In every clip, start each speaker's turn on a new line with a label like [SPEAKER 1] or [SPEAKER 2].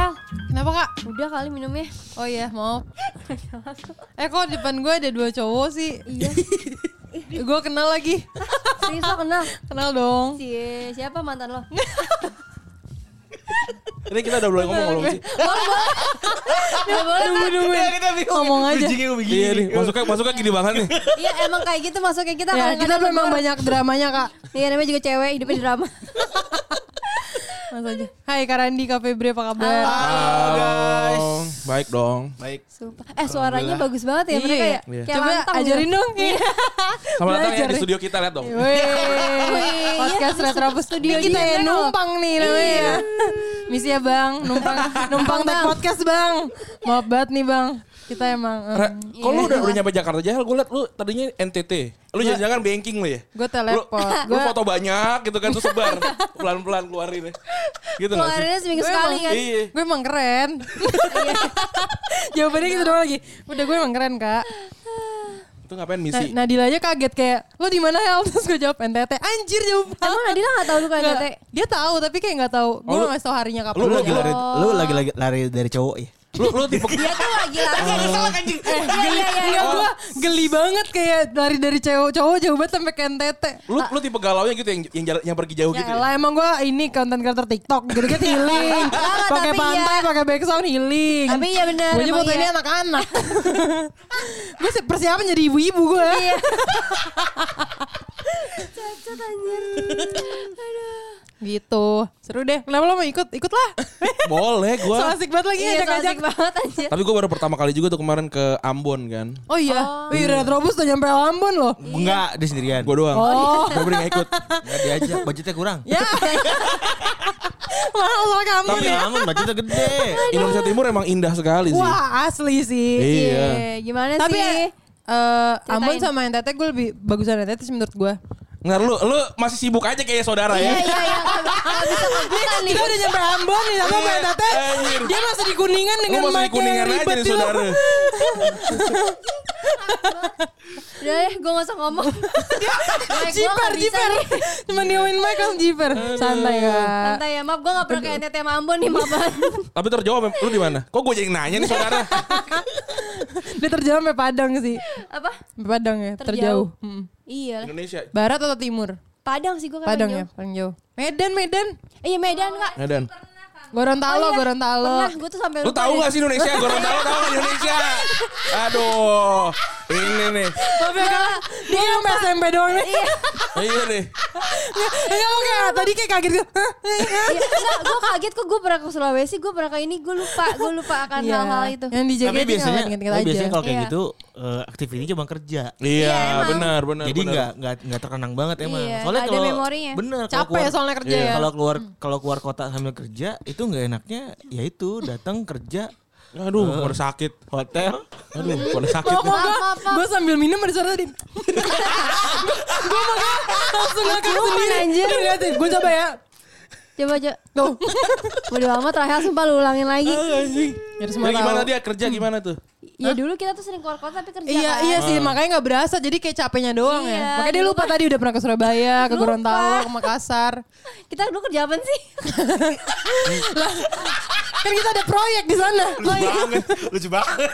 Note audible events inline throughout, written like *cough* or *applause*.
[SPEAKER 1] Apa kak?
[SPEAKER 2] Udah kali minumnya.
[SPEAKER 1] Oh iya mau. *laughs* eh kok depan gue ada dua cowok sih.
[SPEAKER 2] Iya.
[SPEAKER 1] *laughs* Gue kenal lagi.
[SPEAKER 2] *laughs* Serius lo kenal?
[SPEAKER 1] Kenal dong.
[SPEAKER 2] Cie, siapa mantan lo?
[SPEAKER 3] Ini kita udah mulai ngomong belum sih?
[SPEAKER 1] Nunggu nunggu. Ngomong aja.
[SPEAKER 4] Bridging-nya begini.
[SPEAKER 3] Iya nih, masuknya masuknya gini banget nih.
[SPEAKER 2] Iya emang kayak gitu masuknya kita
[SPEAKER 1] Ya,
[SPEAKER 2] kadang-kadang
[SPEAKER 1] kita memang
[SPEAKER 2] keluar.
[SPEAKER 1] banyak dramanya kak.
[SPEAKER 2] Iya namanya juga cewek hidupnya *laughs* drama.
[SPEAKER 1] Mas aja. Hai Kak Randi, Kak Febri apa kabar?
[SPEAKER 2] Ah,
[SPEAKER 3] Halo, baik dong.
[SPEAKER 4] Baik.
[SPEAKER 2] Sumpah. Eh suaranya bagus banget ya
[SPEAKER 1] Iya.
[SPEAKER 2] mereka ya.
[SPEAKER 3] Iya.
[SPEAKER 2] Kayak
[SPEAKER 1] Coba
[SPEAKER 2] lantang
[SPEAKER 1] ajarin
[SPEAKER 2] gitu.
[SPEAKER 1] dong. *laughs*
[SPEAKER 3] Sama datang ya
[SPEAKER 1] Belajar Iya.
[SPEAKER 3] di
[SPEAKER 1] nih.
[SPEAKER 3] studio kita lihat dong.
[SPEAKER 1] Wih,
[SPEAKER 2] Wih,
[SPEAKER 1] podcast
[SPEAKER 2] iya,
[SPEAKER 1] Retrobus Studio
[SPEAKER 2] Ini kita
[SPEAKER 1] kita
[SPEAKER 2] yang
[SPEAKER 1] yang numpang nih namanya.
[SPEAKER 2] Iya.
[SPEAKER 1] Misi ya bang, numpang numpang
[SPEAKER 2] Bang.
[SPEAKER 1] tag podcast bang. Maaf banget nih bang, kita emang.
[SPEAKER 3] Ra, kok lu
[SPEAKER 2] Iya.
[SPEAKER 3] udah, udah nyampe Jakarta Jahal? Gue liat lu tadinya NTT. Lu jangan-jangan banking lu ya?
[SPEAKER 1] Gue telepon.
[SPEAKER 3] *laughs* Lu, lu
[SPEAKER 1] Gue
[SPEAKER 3] foto banyak gitu kan, terus sebar. Pelan-pelan keluarin ya. Gitu gak sih?
[SPEAKER 2] Keluarinnya seminggu
[SPEAKER 1] Gue
[SPEAKER 2] sekali
[SPEAKER 1] emang-
[SPEAKER 2] kan.
[SPEAKER 3] Iya.
[SPEAKER 1] gue emang keren.
[SPEAKER 2] Iya.
[SPEAKER 1] *laughs* Jawabannya gitu doang lagi. Udah gue emang keren kak.
[SPEAKER 3] Itu ngapain
[SPEAKER 1] Nah,
[SPEAKER 3] misi?
[SPEAKER 1] Nadila aja kaget kayak, lo di mana Hel? Terus gue jawab NTT. Anjir jauh banget.
[SPEAKER 2] Emang Nadila gak tau lu kan
[SPEAKER 1] Nggak,
[SPEAKER 2] Tete?
[SPEAKER 1] Dia tahu tapi kayak nggak tahu. Gue
[SPEAKER 3] lu-
[SPEAKER 2] Oh,
[SPEAKER 1] nggak tahu harinya kapan.
[SPEAKER 4] Lu lagi
[SPEAKER 3] Oh.
[SPEAKER 4] lari, lu lagi lari, lari dari cowok ya.
[SPEAKER 3] Lu, lu tipe...
[SPEAKER 2] Dia tuh Iya, lagi lari. Eh, Iya iya iya.
[SPEAKER 1] *laughs* Enggak gue geli banget kayak dari dari cewek cowok jauh banget sampai ke NTT.
[SPEAKER 3] Lu, lu tipe galaunya gitu yang yang, jarak- yang pergi
[SPEAKER 2] Oh,
[SPEAKER 3] jauh
[SPEAKER 1] Ya
[SPEAKER 3] gitu ya?
[SPEAKER 1] elah emang gue ini konten creator TikTok gitu-gitu
[SPEAKER 2] *laughs*
[SPEAKER 1] healing.
[SPEAKER 2] Enggak,
[SPEAKER 1] pakai
[SPEAKER 2] tapi
[SPEAKER 1] pantai,
[SPEAKER 2] iya.
[SPEAKER 1] pakai background healing. *laughs*
[SPEAKER 2] Tapi iya benar.
[SPEAKER 1] Gue
[SPEAKER 2] emang
[SPEAKER 1] nyebut ini
[SPEAKER 2] iya.
[SPEAKER 1] anak-anak. gue persiapan jadi ibu-ibu gue.
[SPEAKER 2] *laughs* Iya. Cacat anjir. Aduh.
[SPEAKER 1] Gitu. Seru deh. Kenapa lo mau ikut?
[SPEAKER 3] *laughs*
[SPEAKER 1] Ikutlah.
[SPEAKER 3] Boleh gue.
[SPEAKER 1] *laughs* so asik banget lagi
[SPEAKER 2] Iya,
[SPEAKER 1] ngajak-ngajak.
[SPEAKER 2] asik banget anjir.
[SPEAKER 3] Tapi gue baru pertama kali juga tuh kemarin ke Ambon kan.
[SPEAKER 1] Oh iya. Wih, Retrobus tuh nyampe Ambon loh.
[SPEAKER 4] Enggak, dia sendirian.
[SPEAKER 3] Gue doang.
[SPEAKER 1] Oh.
[SPEAKER 3] Gue beri gak ikut.
[SPEAKER 4] Enggak diajak, budgetnya kurang.
[SPEAKER 1] Ya. *laughs* Mahal lo kamu
[SPEAKER 4] Tapi
[SPEAKER 1] ya.
[SPEAKER 4] bangun budgetnya gede.
[SPEAKER 3] Indonesia Timur emang indah sekali sih.
[SPEAKER 1] Wah, asli sih.
[SPEAKER 3] Iya.
[SPEAKER 2] Cie, Gimana
[SPEAKER 1] Tapi
[SPEAKER 2] sih?
[SPEAKER 1] eh Ambon
[SPEAKER 2] Ceritain.
[SPEAKER 1] sama NTT gue lebih bagusan NTT sih menurut gue.
[SPEAKER 3] Ngar lu, lu masih sibuk aja kayak
[SPEAKER 1] *laughs*
[SPEAKER 3] saudara
[SPEAKER 2] Iya
[SPEAKER 3] ya?
[SPEAKER 2] iya iya. Gak bisa kebuka nih.
[SPEAKER 1] Kita udah nyampe Ambon nih sama
[SPEAKER 3] Iya,
[SPEAKER 1] NTT.
[SPEAKER 3] anjir.
[SPEAKER 1] Dia masih di Kuningan
[SPEAKER 3] Lu
[SPEAKER 1] dengan
[SPEAKER 3] masih di
[SPEAKER 1] mic yang
[SPEAKER 3] kuningan aja
[SPEAKER 1] ribet
[SPEAKER 3] nih
[SPEAKER 1] itu.
[SPEAKER 3] saudara.
[SPEAKER 1] *laughs*
[SPEAKER 2] Udah deh, gue gak usah
[SPEAKER 1] *laughs*
[SPEAKER 2] ngomong. Mic gua
[SPEAKER 1] Jiper,
[SPEAKER 2] gak bisa
[SPEAKER 1] jiper.
[SPEAKER 2] nih.
[SPEAKER 1] Cuman
[SPEAKER 3] Iya.
[SPEAKER 1] diomin mic langsung jiper. Santai kan? kak.
[SPEAKER 2] Santai ya, maaf gue gak pernah kayak NTT sama Ambon nih, maaf banget. *laughs*
[SPEAKER 3] Tapi terjawab lu di mana? Kok gue jadi nanya nih saudara?
[SPEAKER 1] Dia terjauh sampai Padang sih.
[SPEAKER 2] Apa?
[SPEAKER 1] Sampai Padang ya, terjauh.
[SPEAKER 2] Terjauh.
[SPEAKER 1] Mm.
[SPEAKER 2] Iya lah.
[SPEAKER 3] Indonesia.
[SPEAKER 1] Barat atau timur?
[SPEAKER 2] Padang sih gue kan
[SPEAKER 1] Padang
[SPEAKER 2] paling
[SPEAKER 1] ya,
[SPEAKER 2] jauh.
[SPEAKER 1] paling jauh. Medan, Medan.
[SPEAKER 2] Iya Medan kak.
[SPEAKER 3] Medan.
[SPEAKER 1] Gorontalo,
[SPEAKER 2] iya.
[SPEAKER 1] Gorontalo.
[SPEAKER 2] Pernah, gue tuh sampai
[SPEAKER 3] Ya, Lu tahu
[SPEAKER 2] deh. Iya,
[SPEAKER 3] gak sih Indonesia? Gorontalo tahu gak Indonesia? Aduh. Ini nih.
[SPEAKER 1] *laughs* Tapi Kak, dia yang SMP doang nih.
[SPEAKER 3] Iya nih.
[SPEAKER 1] *laughs* Enggak mau kayak tadi kayak kaget
[SPEAKER 2] *laughs*
[SPEAKER 1] gitu.
[SPEAKER 2] Iya, enggak, gue kaget kok gue pernah ke Sulawesi, gue pernah ke ini, gue lupa, gue lupa akan
[SPEAKER 1] Iya.
[SPEAKER 2] hal-hal itu.
[SPEAKER 1] Yang di JKT
[SPEAKER 4] Tapi biasanya,
[SPEAKER 1] inget
[SPEAKER 4] tapi
[SPEAKER 1] aja.
[SPEAKER 4] biasanya kalau kayak
[SPEAKER 2] Iya.
[SPEAKER 4] gitu eh, aktivitasnya cuma kerja.
[SPEAKER 3] Iya,
[SPEAKER 2] emang.
[SPEAKER 3] benar, benar.
[SPEAKER 4] Jadi
[SPEAKER 3] benar.
[SPEAKER 4] nggak nggak nggak terkenang banget emang.
[SPEAKER 2] Iya,
[SPEAKER 4] Soalnya
[SPEAKER 2] ada
[SPEAKER 4] kalau
[SPEAKER 2] memorinya.
[SPEAKER 4] bener kalau
[SPEAKER 1] Capek
[SPEAKER 4] keluar-
[SPEAKER 1] soalnya kerja
[SPEAKER 4] Iya,
[SPEAKER 1] ya.
[SPEAKER 4] Kalau keluar kalau keluar kota sambil kerja itu nggak enaknya ya itu datang kerja
[SPEAKER 3] Aduh, gue udah sakit.
[SPEAKER 4] hotel
[SPEAKER 3] Aduh, gue udah
[SPEAKER 2] Oh,
[SPEAKER 3] sakit.
[SPEAKER 2] Iya.
[SPEAKER 3] nih.
[SPEAKER 1] Mau gue, gue sambil minum ada
[SPEAKER 2] *laughs*
[SPEAKER 1] suara tadi. Gue makanya langsung ngakak sendiri.
[SPEAKER 2] kan, anjir.
[SPEAKER 1] Dia ngeliatin, gue coba ya.
[SPEAKER 2] Coba aja. *laughs*
[SPEAKER 1] Tuh.
[SPEAKER 2] Bodo amat Rahel sumpah lu ulangin lagi.
[SPEAKER 1] Eh. Biar semua
[SPEAKER 3] Iya Jadi gimana
[SPEAKER 1] tahu. Hmm.
[SPEAKER 3] dia kerja gimana tuh?
[SPEAKER 2] Ya dulu kita tuh sering keluar kota tapi kerja.
[SPEAKER 1] Iya,
[SPEAKER 2] kan?
[SPEAKER 1] iya sih, makanya gak berasa jadi kayak capeknya doang
[SPEAKER 2] Iya,
[SPEAKER 1] ya. Makanya dia lupa tadi udah pernah ke Surabaya, ke
[SPEAKER 2] Lupa.
[SPEAKER 1] Gorontalo, ke Makassar.
[SPEAKER 2] Kita dulu kerja apa sih?
[SPEAKER 1] Kan kita ada proyek di
[SPEAKER 2] *laughs*
[SPEAKER 1] sana. Oh, iya.
[SPEAKER 3] Banget, lucu banget.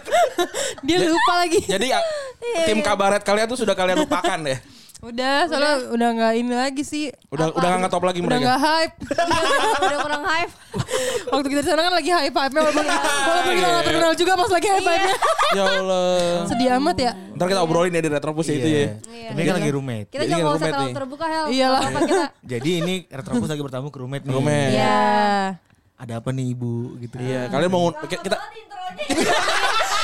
[SPEAKER 1] Dia lupa lagi.
[SPEAKER 3] Jadi ya,
[SPEAKER 1] Iya,
[SPEAKER 3] tim kabaret kalian tuh sudah kalian lupakan ya?
[SPEAKER 1] Udah, soalnya udah nggak ini lagi sih.
[SPEAKER 3] Udah udah nggak ngetop lagi
[SPEAKER 1] Udah
[SPEAKER 3] mereka.
[SPEAKER 1] nggak hype. *laughs*
[SPEAKER 2] Udah kurang hype.
[SPEAKER 1] Waktu kita di sana kan lagi hype hype
[SPEAKER 3] *laughs*
[SPEAKER 1] walaupun
[SPEAKER 3] Iya,
[SPEAKER 1] *laughs* walaupun kita nggak terkenal juga pas lagi hype hype
[SPEAKER 3] *laughs* Ya Allah.
[SPEAKER 1] *laughs* Sedih amat ya.
[SPEAKER 3] Ntar kita obrolin ya di retrobus ya itu ya.
[SPEAKER 2] Iya.
[SPEAKER 4] Tapi kan lagi roommate.
[SPEAKER 2] Kita
[SPEAKER 1] *laughs*
[SPEAKER 3] Jadi
[SPEAKER 2] jangan nggak
[SPEAKER 3] nggak
[SPEAKER 2] usah
[SPEAKER 3] roommate
[SPEAKER 2] terlalu
[SPEAKER 3] nih.
[SPEAKER 2] terbuka Hel.
[SPEAKER 1] Iyalah.
[SPEAKER 2] Nggak apa-apa kita.
[SPEAKER 4] Jadi ini retrobus lagi bertamu ke roommate nih.
[SPEAKER 3] Roommate.
[SPEAKER 2] Iya.
[SPEAKER 4] Ada apa nih ibu gitu.
[SPEAKER 3] Iya, kalian mau kita, kita
[SPEAKER 1] *laughs*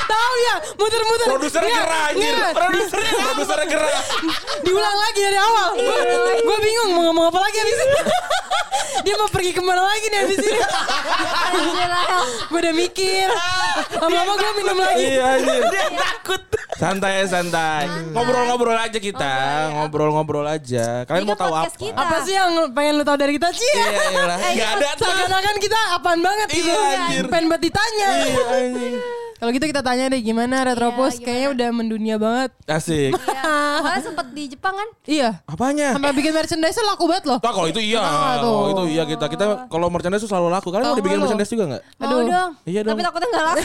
[SPEAKER 1] Tahu ya, muter-muter.
[SPEAKER 3] produsernya
[SPEAKER 1] Nggak,
[SPEAKER 3] gerah anjir.
[SPEAKER 1] nggak.
[SPEAKER 3] Produsernya produsernya gerah.
[SPEAKER 1] Diulang lagi dari
[SPEAKER 3] *laughs*
[SPEAKER 1] awal.
[SPEAKER 3] Iya,
[SPEAKER 1] Gue bingung mau ngomong apa lagi habis ini. *laughs* Dia mau pergi kemana lagi nih habis ini. *laughs*
[SPEAKER 2] Anjir Rahel.
[SPEAKER 1] Gue udah
[SPEAKER 3] *laughs*
[SPEAKER 1] mikir. Lama-lama gue minum lagi.
[SPEAKER 3] Iya anjir. Dia takut. Santai santai. Ngobrol-ngobrol aja kita, ngobrol-ngobrol aja. Kalian
[SPEAKER 2] Ini
[SPEAKER 3] mau
[SPEAKER 2] kan
[SPEAKER 3] tahu
[SPEAKER 2] podcast
[SPEAKER 3] apa?
[SPEAKER 2] kita.
[SPEAKER 1] Apa sih yang pengen lu tahu dari kita, Ci?
[SPEAKER 3] Iya,
[SPEAKER 2] Eh,
[SPEAKER 3] iyalah. Enggak ada tuh.
[SPEAKER 1] Seakan-akan kita apaan banget gitu.
[SPEAKER 3] Iya, anjir.
[SPEAKER 1] Pengen buat ditanya.
[SPEAKER 3] Iya anjir.
[SPEAKER 1] Kalau gitu kita tanya deh gimana Retropus?
[SPEAKER 2] Iya,
[SPEAKER 1] Kayaknya udah mendunia banget.
[SPEAKER 3] Asik.
[SPEAKER 2] Iya.
[SPEAKER 1] *laughs*
[SPEAKER 2] Kemarin sempet di Jepang kan?
[SPEAKER 1] Iya.
[SPEAKER 3] Apanya?
[SPEAKER 1] Sampai bikin merchandise laku banget loh. *laughs*
[SPEAKER 3] Nah, kalau itu iya.
[SPEAKER 1] Kenapa tuh?
[SPEAKER 3] Kalau itu iya kita. Kita kalau merchandise tuh selalu laku. Kalian
[SPEAKER 1] Tahu
[SPEAKER 3] udah bikin
[SPEAKER 1] lu.
[SPEAKER 3] merchandise juga nggak?
[SPEAKER 2] Mau
[SPEAKER 1] Aduh.
[SPEAKER 2] dong.
[SPEAKER 3] Iya dong.
[SPEAKER 2] Tapi takutnya nggak
[SPEAKER 1] *laughs*
[SPEAKER 2] laku.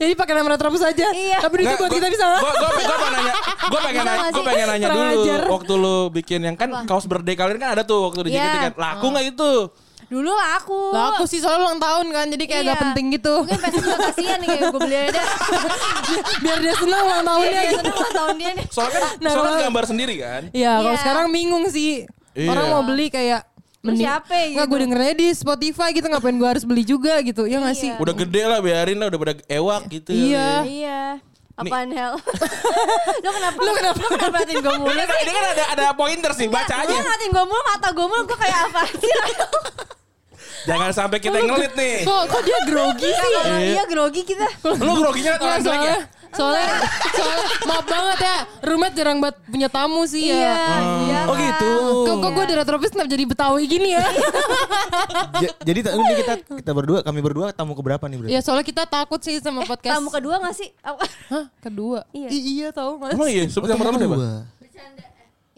[SPEAKER 1] Jadi pakai nama Retropus aja.
[SPEAKER 2] Iya.
[SPEAKER 1] Tapi duitnya buat kita bisa.
[SPEAKER 3] Gue pengen nanya,
[SPEAKER 2] Bisa nggak
[SPEAKER 3] gue pengen nanya, gue
[SPEAKER 2] sih?
[SPEAKER 3] pengen nanya
[SPEAKER 1] Kurang
[SPEAKER 3] dulu.
[SPEAKER 1] ajar.
[SPEAKER 3] Waktu lu bikin yang kan kaos birthday kalian kan ada tuh waktu di
[SPEAKER 2] Iya.
[SPEAKER 3] JKT kan. Laku
[SPEAKER 1] Oh.
[SPEAKER 3] nggak itu?
[SPEAKER 2] Dulu laku.
[SPEAKER 1] Laku sih soalnya ulang tahun kan. Jadi kayak
[SPEAKER 2] Iya.
[SPEAKER 1] gak penting gitu.
[SPEAKER 2] Mungkin pengen juga kasihan nih kayak gue beli aja.
[SPEAKER 1] *laughs* Biar dia senang ulang tahunnya
[SPEAKER 2] Iya,
[SPEAKER 1] gitu.
[SPEAKER 2] seneng lah tahun dia nih.
[SPEAKER 3] Soalnya kan,
[SPEAKER 1] Nah,
[SPEAKER 3] soalnya
[SPEAKER 1] kalau-
[SPEAKER 3] gambar sendiri kan.
[SPEAKER 1] Iya, kalau
[SPEAKER 2] Iya.
[SPEAKER 1] sekarang bingung sih.
[SPEAKER 3] Iya.
[SPEAKER 1] Orang mau beli kayak
[SPEAKER 2] Lu siapa ya
[SPEAKER 1] Nggak,
[SPEAKER 2] gitu?
[SPEAKER 1] gue dengernya di Spotify gitu. Ngapain gue harus beli juga gitu. Iya nggak
[SPEAKER 2] Iya.
[SPEAKER 1] sih?
[SPEAKER 3] Udah gede lah, biarin lah, udah pada ewak gitu.
[SPEAKER 1] Iya.
[SPEAKER 2] Iya. Apaan
[SPEAKER 1] *laughs*
[SPEAKER 2] hell? Lo kenapa?
[SPEAKER 1] Lu kenapa?
[SPEAKER 2] Lu kenapa perhatiin gue mulu
[SPEAKER 3] Ini kan,
[SPEAKER 2] sih?
[SPEAKER 3] ini kan ada ada pointer sih, baca
[SPEAKER 2] Nggak,
[SPEAKER 1] Iya.
[SPEAKER 3] aja.
[SPEAKER 2] Lu perhatiin gue mulu, mata gue mulu, gue kayak apa
[SPEAKER 3] *laughs*
[SPEAKER 2] sih?
[SPEAKER 3] Jangan sampai
[SPEAKER 1] Kok
[SPEAKER 3] kita
[SPEAKER 1] lu-
[SPEAKER 3] ngelit nih.
[SPEAKER 1] Kok, kok dia grogi sih?
[SPEAKER 2] Kalau Iya grogi kita.
[SPEAKER 3] Lu groginya liat
[SPEAKER 1] Iya,
[SPEAKER 3] orang jelek
[SPEAKER 1] soalnya,
[SPEAKER 3] ya?
[SPEAKER 1] soalnya, soalnya, maaf banget ya, roommate jarang banget punya tamu sih
[SPEAKER 2] Iya.
[SPEAKER 1] ya.
[SPEAKER 2] iya
[SPEAKER 3] Oh
[SPEAKER 2] kan.
[SPEAKER 3] gitu.
[SPEAKER 1] Kok, kok gue di retropis kenapa jadi Betawi gini ya?
[SPEAKER 4] Ja- jadi ta- ini kita kita berdua kami berdua tamu keberapa nih berarti?
[SPEAKER 1] ya soalnya kita takut sih sama podcast.
[SPEAKER 2] Tamu kedua gak sih? Apa?
[SPEAKER 1] Hah? Kedua?
[SPEAKER 2] Iya.
[SPEAKER 1] I- Eh, iya tau mas.
[SPEAKER 3] Emang iya, seperti yang pertama siapa?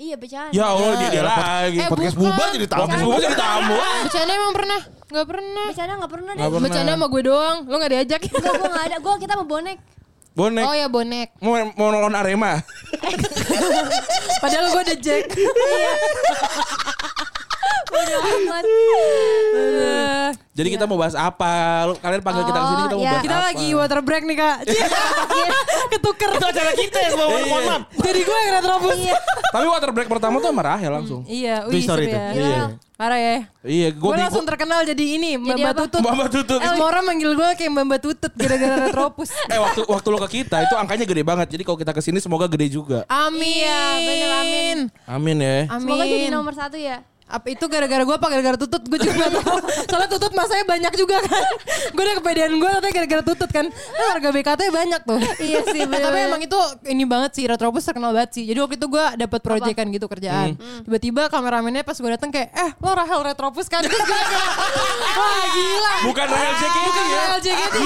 [SPEAKER 2] Iya bercanda.
[SPEAKER 3] Ya Allah, dia dia lagi.
[SPEAKER 1] Eh, Oh, iya.
[SPEAKER 4] Podcast
[SPEAKER 1] bukan.
[SPEAKER 4] bubar jadi tamu.
[SPEAKER 3] Podcast gue jadi tamu.
[SPEAKER 1] Bercanda emang pernah? Gak pernah.
[SPEAKER 2] Bercanda gak pernah deh.
[SPEAKER 3] Nggak pernah.
[SPEAKER 1] Bercanda sama gue doang, lo gak diajak.
[SPEAKER 2] Enggak, gue gak ada. Gue kita mau bonek.
[SPEAKER 3] Bonek.
[SPEAKER 1] oh ya bonek.
[SPEAKER 3] Mau mau nonton Arema.
[SPEAKER 1] Padahal gue ada Jack.
[SPEAKER 2] Bodoh amat.
[SPEAKER 1] Eh,
[SPEAKER 3] Jadi kita mau bahas apa? Lu- Kalian panggil kita ke sini kita mau
[SPEAKER 2] Oh, iya.
[SPEAKER 3] bahas
[SPEAKER 1] kita
[SPEAKER 3] apa? Iya.
[SPEAKER 1] lagi water break nih kak. Ketuker.
[SPEAKER 4] Itu acara kita yang bawa kolam.
[SPEAKER 1] Jadi gue yang retropus. Iya.
[SPEAKER 3] Tapi water break pertama tuh sama Rahel langsung.
[SPEAKER 1] Iya,
[SPEAKER 4] Itu story
[SPEAKER 1] seru
[SPEAKER 4] itu.
[SPEAKER 1] ya.
[SPEAKER 4] Iya.
[SPEAKER 1] Parah ya.
[SPEAKER 3] Iya, gue
[SPEAKER 1] Gue langsung Eh, terkenal jadi ini, Mbak
[SPEAKER 2] Jadi
[SPEAKER 1] Mbak
[SPEAKER 2] apa?
[SPEAKER 1] Tutut.
[SPEAKER 3] Mama tutut.
[SPEAKER 1] Semua orang manggil gue kayak Mbak Mbak Tutut gara-gara retropus.
[SPEAKER 2] *laughs*
[SPEAKER 3] Eh waktu waktu lo ke kita itu angkanya gede banget. Jadi kalau kita ke sini semoga gede juga.
[SPEAKER 1] Amin.
[SPEAKER 2] Iya, bener, amin.
[SPEAKER 3] Amin ya.
[SPEAKER 1] Amin.
[SPEAKER 2] Semoga jadi nomor satu ya.
[SPEAKER 1] Apa itu gara-gara gue apa gara-gara tutut gue
[SPEAKER 2] *laughs*
[SPEAKER 1] juga gak tahu. Soalnya tutut masanya banyak juga kan. Gue udah kepedean gue tapi gara-gara tutut kan. Kan harga BKT banyak tuh.
[SPEAKER 2] Iya sih, bener-bener.
[SPEAKER 1] Tapi emang itu ini banget sih Retropus terkenal banget sih. Jadi waktu itu gue dapat proyekan gitu
[SPEAKER 2] Hmm.
[SPEAKER 1] kerjaan. Tiba-tiba kameramennya pas gue datang kayak eh lo Rahel Retropus kan. Terus gue kayak *laughs* wah gila.
[SPEAKER 3] Bukan Rahel JKT
[SPEAKER 1] Ah, Bukan
[SPEAKER 3] ya. Iya.
[SPEAKER 1] Rahel JKT.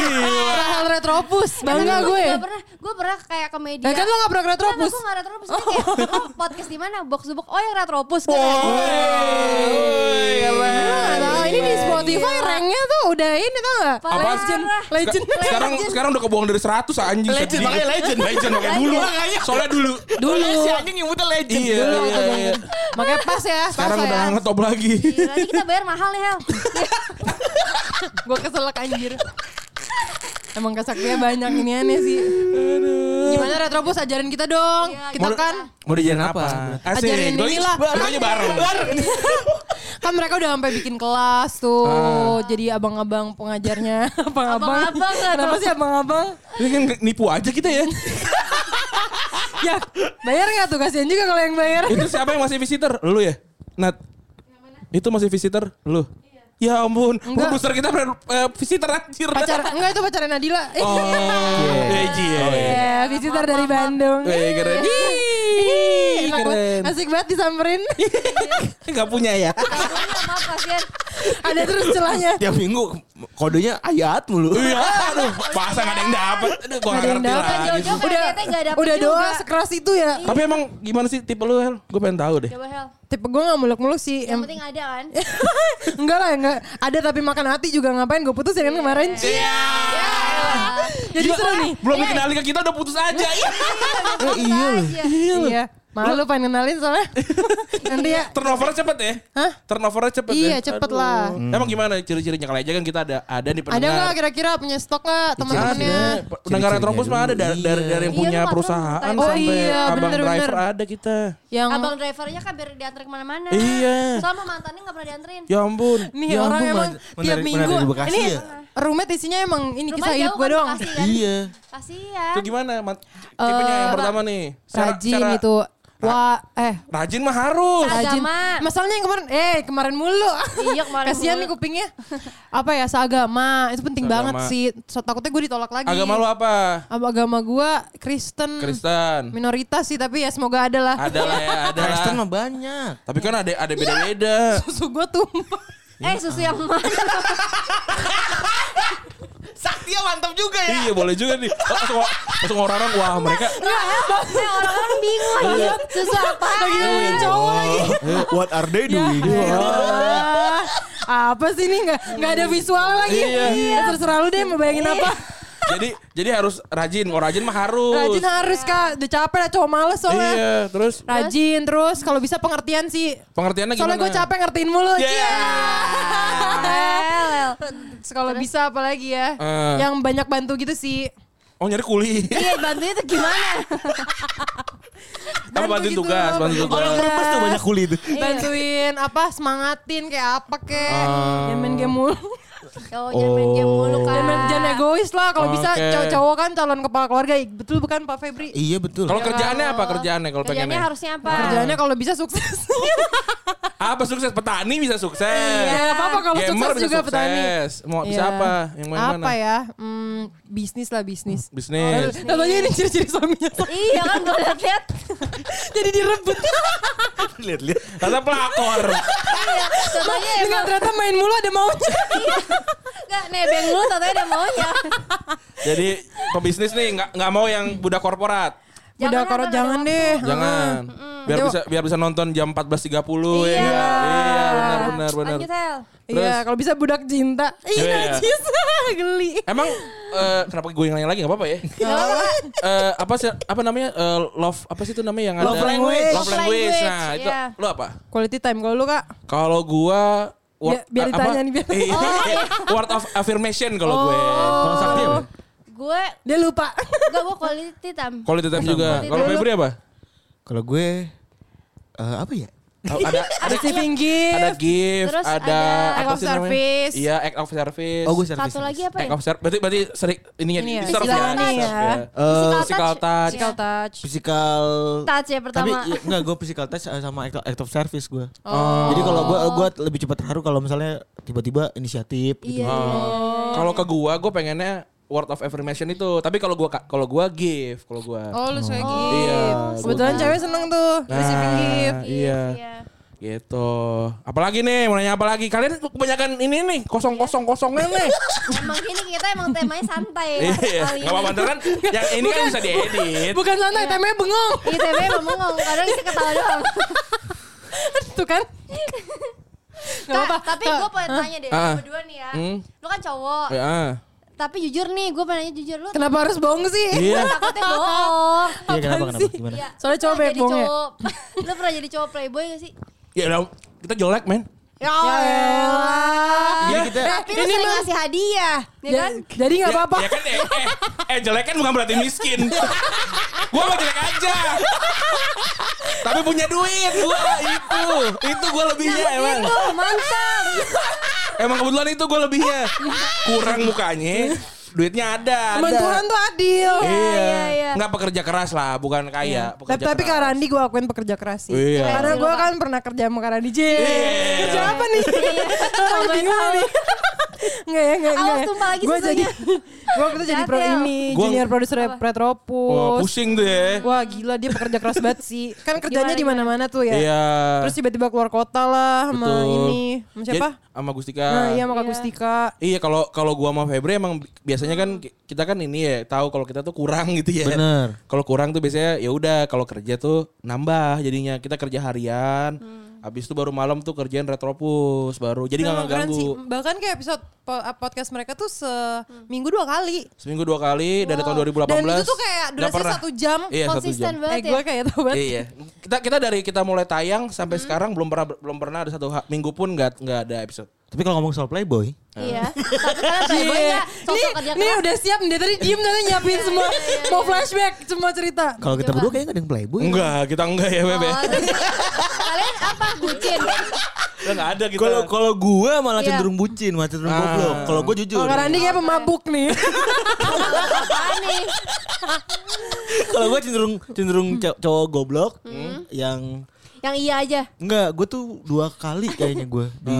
[SPEAKER 1] Rahel Retropus. Bangga gue.
[SPEAKER 2] Gak pernah. Gue pernah kayak komedi.
[SPEAKER 1] Ya kan lo gak pernah ke Retropus.
[SPEAKER 2] Gue gak retropus. Dia kayak, lo podcast di mana? Box to box. Oh yang retropus. Gue kayak,
[SPEAKER 3] Oh. Woi,
[SPEAKER 1] Nggak tahu, Oh, ini
[SPEAKER 2] Iya.
[SPEAKER 1] di Spotify ranknya tuh udah ini tau gak?
[SPEAKER 2] Parah. Apaan?
[SPEAKER 1] Legend. Legend.
[SPEAKER 3] Sekarang sekarang udah kebohong dari 100 anjing.
[SPEAKER 4] Legend,
[SPEAKER 3] sedih.
[SPEAKER 4] makanya legend.
[SPEAKER 3] Legend makanya dulu. Soalnya dulu.
[SPEAKER 1] Dulu.
[SPEAKER 4] Si anjing nyebutnya legend.
[SPEAKER 3] Iya, iya, iya.
[SPEAKER 1] Makanya pas ya. pas Iya.
[SPEAKER 3] Sekarang
[SPEAKER 1] ya.
[SPEAKER 3] udah ngetop lagi.
[SPEAKER 2] "Gila, Nanti kita bayar mahal nih Hel.
[SPEAKER 1] Gue keselak anjir. Emang kesaknya banyak ini aneh sih. Gimana Retrobus ajarin kita dong.
[SPEAKER 2] Iya,
[SPEAKER 1] kita
[SPEAKER 3] Mau-
[SPEAKER 1] kan
[SPEAKER 3] Mau diajarin apa? Eh,
[SPEAKER 1] Ajarin
[SPEAKER 3] Doi,
[SPEAKER 1] inilah.
[SPEAKER 3] Doi bareng.
[SPEAKER 1] kan mereka udah sampai bikin kelas tuh.
[SPEAKER 3] Ah.
[SPEAKER 1] Jadi abang-abang pengajarnya, *laughs* abang-abang.
[SPEAKER 2] Abang-abang lah
[SPEAKER 1] Kenapa
[SPEAKER 2] tuh.
[SPEAKER 1] sih abang-abang?
[SPEAKER 3] Ini kan nipu aja kita
[SPEAKER 1] *laughs*
[SPEAKER 3] ya.
[SPEAKER 1] Ya, bayar nggak tuh? Kasihan juga kalau yang bayar.
[SPEAKER 3] Itu siapa yang masih visitor? Lu ya? Nat. Itu masih visitor? Lu? Ya ampun,
[SPEAKER 1] Enggak.
[SPEAKER 3] produser kita ber- eh, visitor anjir.
[SPEAKER 1] Pacar, enggak itu pacarnya Nadila. Eh, *laughs*
[SPEAKER 3] *laughs* Oh, iya. iya.
[SPEAKER 1] Ya, visitor dari Bandung.
[SPEAKER 3] Eh, keren.
[SPEAKER 1] Ih, enak
[SPEAKER 3] keren.
[SPEAKER 1] banget. Asik banget *laughs* disamperin.
[SPEAKER 3] Enggak punya ya.
[SPEAKER 2] Maaf kasihan.
[SPEAKER 1] Ada terus celahnya.
[SPEAKER 4] Tiap minggu kodenya ayat mulu.
[SPEAKER 3] Iya, *laughs* aduh, masa gak ada yang dapat. Aduh, gua
[SPEAKER 1] Nggak
[SPEAKER 3] gak
[SPEAKER 1] ada yang
[SPEAKER 3] ngerti
[SPEAKER 1] dapet,
[SPEAKER 3] lagi.
[SPEAKER 2] jauh-jauh.
[SPEAKER 1] udah
[SPEAKER 2] Ternyata nggak dapet
[SPEAKER 1] udah
[SPEAKER 2] juga.
[SPEAKER 1] doa sekeras itu ya.
[SPEAKER 3] Tapi emang gimana sih tipe lu, Hel? Gue pengen tahu deh.
[SPEAKER 2] Coba Hel.
[SPEAKER 1] Tipe gue gak muluk-muluk sih.
[SPEAKER 2] Yang
[SPEAKER 1] Em-
[SPEAKER 2] penting ada kan.
[SPEAKER 1] *laughs* enggak lah, enggak. Ada tapi makan hati juga ngapain. Gue putus ya kan kemarin.
[SPEAKER 3] Iya.
[SPEAKER 1] Jadi seru nih.
[SPEAKER 3] Belum dikenali ke kita udah putus aja. Iya.
[SPEAKER 2] Iya loh.
[SPEAKER 1] Iya. Malu pengen kenalin *laughs* soalnya. Nanti ya.
[SPEAKER 3] Turnovernya cepet ya?
[SPEAKER 1] Hah?
[SPEAKER 3] Turnovernya cepet
[SPEAKER 1] Iya,
[SPEAKER 3] ya?
[SPEAKER 1] cepet
[SPEAKER 3] Aduh.
[SPEAKER 1] lah.
[SPEAKER 3] Emang gimana ciri-cirinya? Kalau aja kan kita ada ada nih
[SPEAKER 1] Ada
[SPEAKER 3] pendengar.
[SPEAKER 1] nggak kira-kira punya stok nggak teman-temannya?
[SPEAKER 3] Ada. Pendengar
[SPEAKER 4] Ciri-cirinya
[SPEAKER 3] Retropus mah ada dari, dari, dari yang
[SPEAKER 2] Iya,
[SPEAKER 3] punya
[SPEAKER 2] lu patron,
[SPEAKER 3] perusahaan
[SPEAKER 2] patron.
[SPEAKER 1] Oh,
[SPEAKER 3] sampai
[SPEAKER 1] iya,
[SPEAKER 3] abang
[SPEAKER 1] bener-bener.
[SPEAKER 3] driver ada kita.
[SPEAKER 1] Yang
[SPEAKER 2] Abang drivernya kan biar diantar kemana-mana.
[SPEAKER 3] Iya.
[SPEAKER 2] Sama mantannya gak pernah dianterin.
[SPEAKER 3] Ya ampun.
[SPEAKER 1] Nih
[SPEAKER 4] Ya
[SPEAKER 1] orang
[SPEAKER 4] ampun,
[SPEAKER 1] emang
[SPEAKER 4] menarik-
[SPEAKER 1] tiap
[SPEAKER 4] menarik
[SPEAKER 1] minggu
[SPEAKER 4] di Bekasi
[SPEAKER 1] ini
[SPEAKER 4] ya?
[SPEAKER 1] roommate isinya emang ini
[SPEAKER 2] Rumah
[SPEAKER 1] kisah hidup
[SPEAKER 2] jauh
[SPEAKER 1] gue
[SPEAKER 2] kan
[SPEAKER 1] doang.
[SPEAKER 2] Bekasi kan?
[SPEAKER 4] Iya.
[SPEAKER 2] Kasihan.
[SPEAKER 3] Itu gimana? Mat? Tipenya yang pertama nih.
[SPEAKER 1] Eh,
[SPEAKER 3] Secara-
[SPEAKER 1] Rajin gitu.
[SPEAKER 3] secara-
[SPEAKER 1] itu. Wah, eh
[SPEAKER 3] Rajin mah harus.
[SPEAKER 2] Agama.
[SPEAKER 1] rajin. Masalahnya yang kemarin, eh kemarin mulu.
[SPEAKER 2] Iya, kemarin
[SPEAKER 1] Kasihan
[SPEAKER 2] mulu.
[SPEAKER 1] nih kupingnya. Apa ya seagama? Itu penting
[SPEAKER 3] Seagama.
[SPEAKER 1] banget sih. So, takutnya gue ditolak lagi.
[SPEAKER 3] Agama lu apa?
[SPEAKER 1] Apa agama gue Kristen.
[SPEAKER 3] Kristen.
[SPEAKER 1] Minoritas sih tapi ya semoga ada *laughs* lah.
[SPEAKER 3] Ada lah ya, ada
[SPEAKER 4] Kristen
[SPEAKER 3] lah.
[SPEAKER 4] mah banyak.
[SPEAKER 3] Tapi kan ada
[SPEAKER 1] Iya.
[SPEAKER 3] ada beda-beda.
[SPEAKER 1] Susu gue tumpah.
[SPEAKER 2] Eh susu yang mana?
[SPEAKER 4] dia mantap juga ya.
[SPEAKER 3] Iya boleh juga nih. Pas ngor- pas orang-orang wah mereka
[SPEAKER 2] Nah, nah, orang-orang bingung
[SPEAKER 3] Iya.
[SPEAKER 2] ya. Susu apa?
[SPEAKER 1] Lagi
[SPEAKER 4] Oh.
[SPEAKER 1] ngomongin cowok lagi.
[SPEAKER 5] What are
[SPEAKER 4] Iya.
[SPEAKER 5] they doing?
[SPEAKER 4] Oh.
[SPEAKER 1] Wah, *laughs* apa sih ini nggak nggak ada visual lagi?
[SPEAKER 3] Iya.
[SPEAKER 1] Ya, Terserah lu deh mau bayangin
[SPEAKER 2] Iya.
[SPEAKER 1] apa.
[SPEAKER 3] jadi jadi harus rajin. Kalau rajin mah harus.
[SPEAKER 1] Rajin harus kak, udah capek lah cowok males soalnya.
[SPEAKER 3] Iya, terus
[SPEAKER 1] Rajin terus kalau bisa pengertian sih.
[SPEAKER 3] pengertiannya gimana?
[SPEAKER 1] Soalnya gue capek ngertiin mulu. Iya.
[SPEAKER 3] Yeah.
[SPEAKER 1] Yeah. *laughs* Kalau bisa apalagi ya.
[SPEAKER 3] Eh.
[SPEAKER 1] Yang banyak bantu gitu sih.
[SPEAKER 3] Oh nyari
[SPEAKER 1] *laughs*
[SPEAKER 3] kuli.
[SPEAKER 2] Iya, bantunya tuh gimana?
[SPEAKER 3] Apa bantuin
[SPEAKER 1] gitu,
[SPEAKER 3] tugas, bantuin
[SPEAKER 1] bantu
[SPEAKER 3] tugas.
[SPEAKER 1] Orang
[SPEAKER 4] Brebes tuh banyak kulit itu.
[SPEAKER 1] Bantuin apa semangatin kayak apa kek.
[SPEAKER 3] Ah.
[SPEAKER 1] Jangan main game mulu.
[SPEAKER 2] Oh, jangan main game mulu kan.
[SPEAKER 1] Jangan, main-
[SPEAKER 3] ya,
[SPEAKER 1] jangan egois lah kalau bisa
[SPEAKER 3] Oke.
[SPEAKER 1] cowok-cowok kan calon kepala keluarga. Betul bukan Pak Febri?
[SPEAKER 4] Iya betul.
[SPEAKER 3] Kalau kerjaannya apa kerjaannya kalau
[SPEAKER 2] Kerjanya
[SPEAKER 3] pengennya?
[SPEAKER 2] harusnya apa?
[SPEAKER 1] Kerjaannya kalau bisa sukses.
[SPEAKER 3] *laughs* Apa sukses petani bisa sukses.
[SPEAKER 1] Ya gak apa-apa kalau
[SPEAKER 3] Gamer
[SPEAKER 1] sukses
[SPEAKER 3] bisa
[SPEAKER 1] juga
[SPEAKER 3] sukses.
[SPEAKER 1] petani.
[SPEAKER 3] Mau bisa
[SPEAKER 1] Iya.
[SPEAKER 3] apa? Yang main
[SPEAKER 1] Apa
[SPEAKER 3] mana?
[SPEAKER 1] ya? Hmm, bisnis lah bisnis.
[SPEAKER 3] Bisnis.
[SPEAKER 4] *laughs*
[SPEAKER 1] Katanya ini ciri-ciri suaminya
[SPEAKER 2] Iya kan gue liat-liat.
[SPEAKER 1] jadi *laughs* direbut.
[SPEAKER 5] Lihat-lihat.
[SPEAKER 3] Kata pelakor.
[SPEAKER 2] Iya, Contohnya
[SPEAKER 1] Enggak
[SPEAKER 2] emang
[SPEAKER 1] ternyata main mulu ada maunya.
[SPEAKER 2] nggak nebeng mulu, contohnya ada maunya.
[SPEAKER 3] Jadi pebisnis nih nggak nggak mau yang budak korporat.
[SPEAKER 2] Jangan
[SPEAKER 1] Udah
[SPEAKER 2] lah, kan
[SPEAKER 1] korot
[SPEAKER 2] ada
[SPEAKER 1] jangan deh.
[SPEAKER 3] Jangan. Biar
[SPEAKER 1] Yuk.
[SPEAKER 3] bisa biar bisa nonton jam 14.30 ya.
[SPEAKER 2] Iya.
[SPEAKER 3] Iya, benar benar benar.
[SPEAKER 2] Lanjut, Hel.
[SPEAKER 3] Terus?
[SPEAKER 1] Iya, kalau bisa budak cinta.
[SPEAKER 3] Iya.
[SPEAKER 1] Iya, najis. *laughs* Geli.
[SPEAKER 3] Emang eh, kenapa gue nanya lagi nggak apa-apa ya?
[SPEAKER 1] Iya.
[SPEAKER 3] Eh, apa sih apa namanya Eh, love apa sih itu namanya yang ada
[SPEAKER 4] Love language.
[SPEAKER 3] love
[SPEAKER 2] Love
[SPEAKER 3] language,
[SPEAKER 2] language,
[SPEAKER 3] nah itu
[SPEAKER 2] iya.
[SPEAKER 3] lu apa
[SPEAKER 1] Quality time kalau lu, Kak.
[SPEAKER 3] kalau gua word,
[SPEAKER 1] Biar- biar
[SPEAKER 3] apa?
[SPEAKER 1] ditanya nih, biar- Oh.
[SPEAKER 3] Eh, word of affirmation kalau gue
[SPEAKER 4] Kalau sakti apa?
[SPEAKER 2] Gue
[SPEAKER 1] Dia lupa.
[SPEAKER 2] Enggak, gue quality time.
[SPEAKER 3] quality time juga kalau
[SPEAKER 1] time.
[SPEAKER 3] Febri apa
[SPEAKER 4] Kalau gue eh, apa ya?
[SPEAKER 3] Oh, ada ada
[SPEAKER 1] Receiving gift.
[SPEAKER 3] ada gift
[SPEAKER 2] Terus
[SPEAKER 3] ada
[SPEAKER 2] ada
[SPEAKER 1] act
[SPEAKER 3] apa
[SPEAKER 1] of
[SPEAKER 3] sih namanya?
[SPEAKER 1] service.
[SPEAKER 3] iya act of service Eh,
[SPEAKER 4] Oh gue service.
[SPEAKER 2] Satu lagi apa
[SPEAKER 3] act
[SPEAKER 2] ya?
[SPEAKER 3] of service berarti berarti sering ininya
[SPEAKER 1] Ini
[SPEAKER 3] di
[SPEAKER 1] ya,
[SPEAKER 3] serve
[SPEAKER 1] istilahnya
[SPEAKER 3] di
[SPEAKER 1] ya.
[SPEAKER 3] serve
[SPEAKER 2] Physical
[SPEAKER 3] physical touch. iya,
[SPEAKER 2] Iya.
[SPEAKER 1] Physical touch.
[SPEAKER 4] Eh, Physical
[SPEAKER 2] Touch ya
[SPEAKER 4] tapi
[SPEAKER 2] pertama.
[SPEAKER 4] i- enggak gue physical touch sama act of, act of service gue.
[SPEAKER 1] Oh.
[SPEAKER 4] Jadi kalau gue gue lebih cepat terharu kalau misalnya tiba-tiba inisiatif gitu.
[SPEAKER 2] Iya.
[SPEAKER 3] Oh. Kalau ke gua, gua pengennya word of affirmation itu. Tapi kalau gua kalau gua gift, kalau gua.
[SPEAKER 1] Oh, lu suka gift.
[SPEAKER 3] Iya. Nah.
[SPEAKER 1] Kebetulan cewek seneng tuh receiving gift.
[SPEAKER 3] Iya. Gitu. Apalagi nih, mau nanya apa lagi? Kalian tuh kebanyakan ini nih, kosong-kosong-kosongnya nih.
[SPEAKER 1] *laughs*
[SPEAKER 2] Emang gini kita emang temanya santai ya.
[SPEAKER 3] Iya.
[SPEAKER 2] kali
[SPEAKER 3] Gak apa-apa
[SPEAKER 2] ini.
[SPEAKER 3] ntar kan yang ini kan bisa diedit.
[SPEAKER 1] Bukan santai, temanya bengong.
[SPEAKER 2] Iya, tapi emang ngomong kadang sih ketawa doang.
[SPEAKER 1] *laughs* Tuh kan? Gak
[SPEAKER 2] Kak,
[SPEAKER 1] apa-apa.
[SPEAKER 2] tapi
[SPEAKER 1] Kak.
[SPEAKER 2] gue pengen tanya deh,
[SPEAKER 3] Ah.
[SPEAKER 2] lu berdua nih ya.
[SPEAKER 3] Hmm.
[SPEAKER 2] Lu kan cowok,
[SPEAKER 3] Ya.
[SPEAKER 2] tapi jujur nih, gue pengen nanya jujur lu.
[SPEAKER 1] Kenapa harus bohong sih?
[SPEAKER 3] Iya.
[SPEAKER 2] Takutnya
[SPEAKER 1] Oh.
[SPEAKER 2] bohong.
[SPEAKER 4] Iya kenapa
[SPEAKER 1] Apaan
[SPEAKER 4] kenapa
[SPEAKER 1] sih?
[SPEAKER 4] gimana?
[SPEAKER 2] Iya.
[SPEAKER 1] Soalnya
[SPEAKER 2] lu
[SPEAKER 1] cowok
[SPEAKER 2] pernah
[SPEAKER 1] banyak
[SPEAKER 2] jadi
[SPEAKER 1] bohongnya.
[SPEAKER 2] cowok- *laughs* Lu pernah jadi cowok playboy gak sih?
[SPEAKER 3] Ya dong, kita jelek, men.
[SPEAKER 2] Ya
[SPEAKER 1] elah.
[SPEAKER 4] Jadi kita
[SPEAKER 3] Eh,
[SPEAKER 2] Tapi lu
[SPEAKER 1] Ini
[SPEAKER 2] sering
[SPEAKER 1] mah-
[SPEAKER 2] ngasih hadiah, ya
[SPEAKER 1] Ya,
[SPEAKER 2] kan?
[SPEAKER 1] Jadi nggak
[SPEAKER 3] Ya-
[SPEAKER 1] apa-apa.
[SPEAKER 3] Ya, kan eh, eh, eh, jelek kan bukan berarti miskin. gua mah jelek aja. Tapi punya duit gua itu. Itu gua lebihnya Ya, emang.
[SPEAKER 1] gitu.
[SPEAKER 2] Itu mantap.
[SPEAKER 3] Emang kebetulan itu gua lebihnya. Kurang mukanya, duitnya ada.
[SPEAKER 1] Teman
[SPEAKER 3] ada.
[SPEAKER 1] Tuhan tuh adil.
[SPEAKER 2] iya, iya.
[SPEAKER 3] Iya. Enggak pekerja keras lah, bukan kaya, pekerja
[SPEAKER 1] Tapi, Iya. tapi Kak
[SPEAKER 3] keras.
[SPEAKER 1] Randi gue akuin pekerja keras sih.
[SPEAKER 3] Iya.
[SPEAKER 1] Karena
[SPEAKER 2] Keren sih
[SPEAKER 1] gue
[SPEAKER 2] lo, Kak.
[SPEAKER 1] kan pernah kerja sama Kak Randi. J. Kerja apa nih? Orang
[SPEAKER 2] Tambahin
[SPEAKER 1] bingung
[SPEAKER 2] haus.
[SPEAKER 1] nih. Enggak ya, enggak,
[SPEAKER 2] Awas
[SPEAKER 1] enggak.
[SPEAKER 2] tumpah lagi ya?
[SPEAKER 1] Gue jadi,
[SPEAKER 2] susunya.
[SPEAKER 1] gue kita jadi pro
[SPEAKER 2] Hati-hati, El.
[SPEAKER 1] ini,
[SPEAKER 3] Gua-
[SPEAKER 1] junior produser
[SPEAKER 3] Wah,
[SPEAKER 1] Retropus.
[SPEAKER 3] pusing tuh ya.
[SPEAKER 1] Wah gila dia pekerja keras banget sih. Kan kerjanya
[SPEAKER 2] Gimana,
[SPEAKER 1] di mana-mana tuh ya.
[SPEAKER 3] Iya.
[SPEAKER 1] Terus tiba-tiba keluar kota lah sama
[SPEAKER 3] betul.
[SPEAKER 1] ini. Sama siapa?
[SPEAKER 3] Jadi, Sama Gustika.
[SPEAKER 1] Nah iya sama Kak Gustika.
[SPEAKER 3] Iya kalau kalau gua sama Febri emang bi- biasanya kan ki- kita kan ini ya tahu kalau kita tuh kurang *laughs* gitu ya.
[SPEAKER 4] Bener.
[SPEAKER 3] Kalau kurang tuh biasanya ya udah kalau kerja tuh nambah jadinya kita kerja harian.
[SPEAKER 1] Hmm.
[SPEAKER 3] Habis itu baru malam tuh kerjaan retropus baru. Jadi nggak
[SPEAKER 1] Memang keren sih.
[SPEAKER 3] ngeganggu.
[SPEAKER 1] Bahkan kayak episode po- eh, podcast mereka tuh seminggu dua kali.
[SPEAKER 3] Seminggu dua kali dari tahun
[SPEAKER 1] Dan itu
[SPEAKER 3] 2018.
[SPEAKER 1] tuh kayak
[SPEAKER 3] Nggak
[SPEAKER 1] durasinya
[SPEAKER 3] pernah.
[SPEAKER 1] satu jam.
[SPEAKER 3] Iya, satu
[SPEAKER 2] Konsisten
[SPEAKER 3] jam.
[SPEAKER 2] banget
[SPEAKER 1] Eh
[SPEAKER 2] ya.
[SPEAKER 1] gue kayak tau banget. Hmm.
[SPEAKER 3] Iya, kita kita dari kita mulai tayang sampai sekarang belum pernah belum pernah ada satu ha- minggu pun nggak nggak ada episode.
[SPEAKER 4] tapi kalau ngomong soal
[SPEAKER 2] *laughs*
[SPEAKER 4] playboy,
[SPEAKER 2] Iya. Tapi kalian playboy
[SPEAKER 1] Iya.
[SPEAKER 2] gak? Sosok kerja
[SPEAKER 1] Nih, nih
[SPEAKER 2] keras.
[SPEAKER 1] udah siap nih tadi diem tadi nyiapin semua mau flashback semua cerita.
[SPEAKER 4] kalau
[SPEAKER 2] Iya,
[SPEAKER 4] kita berdua kayaknya gak ada yang playboy.
[SPEAKER 3] Enggak, kita enggak ya, Bebe.
[SPEAKER 2] Oh, Kalian apa? Bucin.
[SPEAKER 3] Udah nggak ada kita.
[SPEAKER 4] Kalau kalau gue
[SPEAKER 2] Iya.
[SPEAKER 4] malah
[SPEAKER 2] Oh,
[SPEAKER 4] cenderung bucin, malah cenderung goblok. Kalau gue jujur.
[SPEAKER 1] Kalau Randi kayak pemabuk nih.
[SPEAKER 2] Apaan nih?
[SPEAKER 4] Kalau gue cenderung cenderung
[SPEAKER 2] Hmm.
[SPEAKER 4] cow- cowok goblok yang
[SPEAKER 2] Yang iya aja.
[SPEAKER 4] enggak, gue tuh dua kali kayaknya gue di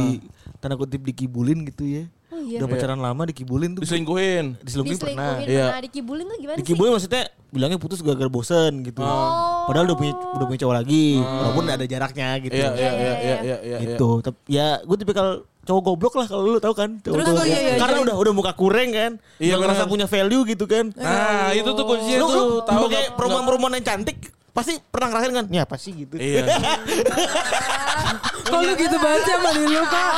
[SPEAKER 4] tanda kutip dikibulin gitu ya.
[SPEAKER 2] Oh iya.
[SPEAKER 4] Udah pacaran lama dikibulin tuh.
[SPEAKER 3] Diselingkuhin.
[SPEAKER 4] Diselingkuhin pernah.
[SPEAKER 2] Diselingkuhin
[SPEAKER 3] Iya.
[SPEAKER 2] pernah dikibulin tuh gimana sih?
[SPEAKER 4] Dikibulin maksudnya bilangnya putus gara-gara bosen gitu.
[SPEAKER 3] Oh.
[SPEAKER 4] Padahal udah punya udah punya cowok lagi, walaupun ada jaraknya gitu.
[SPEAKER 3] Iya, iya, iya, iya, iya, iya.
[SPEAKER 4] gitu. Tapi ya gue tipikal cowok goblok lah kalau lu tahu kan. Cowok
[SPEAKER 1] Terus,
[SPEAKER 4] goblok.
[SPEAKER 1] oh, iya, iya,
[SPEAKER 4] Karena
[SPEAKER 1] iya.
[SPEAKER 4] udah udah muka kureng kan.
[SPEAKER 3] Iya,
[SPEAKER 4] Udah ngerasa
[SPEAKER 3] benar.
[SPEAKER 4] punya value gitu kan.
[SPEAKER 3] Nah, itu tuh kuncinya
[SPEAKER 4] lu,
[SPEAKER 3] tuh.
[SPEAKER 4] lu
[SPEAKER 3] tahu
[SPEAKER 4] sebagai
[SPEAKER 3] nggak-
[SPEAKER 4] perempuan-perempuan yang cantik pasti pernah ngerasain kan? Ya pasti gitu. *laughs*
[SPEAKER 3] Iya.
[SPEAKER 1] *laughs* Kok lu gitu banget sih sama diri lu kak?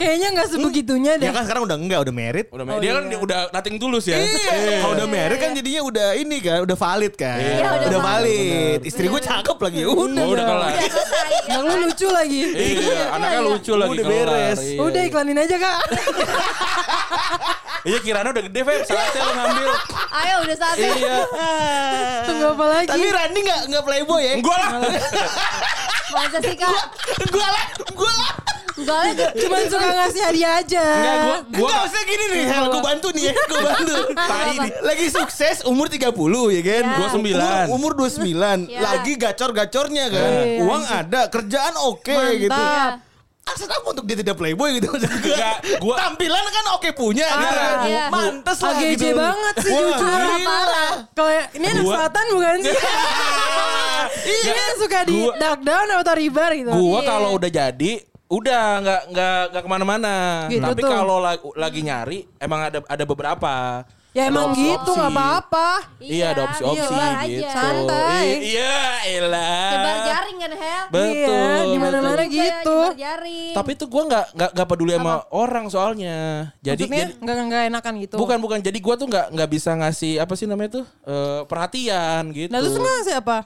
[SPEAKER 1] Kayaknya gak sebegitunya deh.
[SPEAKER 4] Ya kan sekarang udah enggak, udah merit.
[SPEAKER 3] Udah married. dia kan
[SPEAKER 1] iya.
[SPEAKER 3] udah nothing tulus ya.
[SPEAKER 4] Kalau udah merit kan jadinya udah ini kan, udah valid kan.
[SPEAKER 3] Iya,
[SPEAKER 2] udah
[SPEAKER 4] valid.
[SPEAKER 1] Iya.
[SPEAKER 4] Istri gue cakep lagi.
[SPEAKER 3] Udah,
[SPEAKER 4] Udah.
[SPEAKER 3] Oh, udah
[SPEAKER 4] *laughs*
[SPEAKER 3] kelar.
[SPEAKER 1] Yang lu lucu lagi.
[SPEAKER 3] Iya, anaknya lucu lagi
[SPEAKER 4] Udah
[SPEAKER 3] kelar.
[SPEAKER 4] beres.
[SPEAKER 3] Iya.
[SPEAKER 1] Udah iklanin aja kak.
[SPEAKER 3] Iya, Kirana udah gede, Feb. Saatnya lu ngambil.
[SPEAKER 2] Ayo udah saatnya.
[SPEAKER 3] Iya.
[SPEAKER 1] Tunggu apa lagi?
[SPEAKER 4] Tapi Randy enggak enggak playboy ya?
[SPEAKER 3] Gua lah. *laughs*
[SPEAKER 2] Masa sih kak?
[SPEAKER 4] Gue lah, gue lah.
[SPEAKER 2] Enggak lagi.
[SPEAKER 1] Cuman suka ngasih hadiah aja.
[SPEAKER 3] Enggak, gua Iya,
[SPEAKER 4] Gua
[SPEAKER 3] gua
[SPEAKER 4] enggak usah gini nih. Hel, gue bantu nih ya. Gue bantu.
[SPEAKER 3] *laughs* tai nih.
[SPEAKER 4] Lagi sukses umur 30 ya kan?
[SPEAKER 2] Ya.
[SPEAKER 3] Gua sembilan.
[SPEAKER 4] Umur, umur 29.
[SPEAKER 2] Ya.
[SPEAKER 4] Lagi gacor-gacornya kan.
[SPEAKER 1] Iya.
[SPEAKER 4] Uang ada, kerjaan oke gitu.
[SPEAKER 1] Mantap.
[SPEAKER 4] Alasan apa untuk dia tidak playboy gitu maksud gue.
[SPEAKER 3] Enggak, gua-
[SPEAKER 4] Tampilan kan oke punya gitu kan.
[SPEAKER 2] iya.
[SPEAKER 4] Mantes lah
[SPEAKER 1] AGJ
[SPEAKER 4] gitu.
[SPEAKER 1] banget sih jujur.
[SPEAKER 4] parah.
[SPEAKER 1] Kalau ini anak
[SPEAKER 3] Gua- Iya.
[SPEAKER 1] selatan bukan sih? Ini Iya, yang suka di Iya.
[SPEAKER 3] Gua-
[SPEAKER 1] dark down atau ribar gitu.
[SPEAKER 3] Gua kalau udah jadi udah nggak nggak nggak kemana-mana.
[SPEAKER 1] Gitu
[SPEAKER 3] Tapi
[SPEAKER 1] tuh.
[SPEAKER 3] kalau lagi, lagi nyari emang ada ada beberapa.
[SPEAKER 1] Ya
[SPEAKER 3] Ada
[SPEAKER 1] emang
[SPEAKER 3] opsi-opsi.
[SPEAKER 1] gitu nggak apa-apa.
[SPEAKER 3] Iya, ada opsi-opsi
[SPEAKER 2] iya,
[SPEAKER 3] gitu.
[SPEAKER 2] aja.
[SPEAKER 1] Santai.
[SPEAKER 3] I- Iya, elah.
[SPEAKER 2] Kebar jaring kan Hel?
[SPEAKER 3] Betul.
[SPEAKER 1] Iya, di mana-mana
[SPEAKER 2] Kayak
[SPEAKER 1] gitu.
[SPEAKER 2] Nyebar jaring.
[SPEAKER 3] Tapi itu gua nggak nggak nggak peduli sama orang soalnya. Jadi,
[SPEAKER 1] Maksudnya
[SPEAKER 3] jadi-
[SPEAKER 1] nggak nggak enakan gitu.
[SPEAKER 3] bukan bukan. Jadi gua tuh nggak nggak bisa ngasih apa sih namanya tuh eh, perhatian gitu.
[SPEAKER 1] Nah terus lu ngasih apa?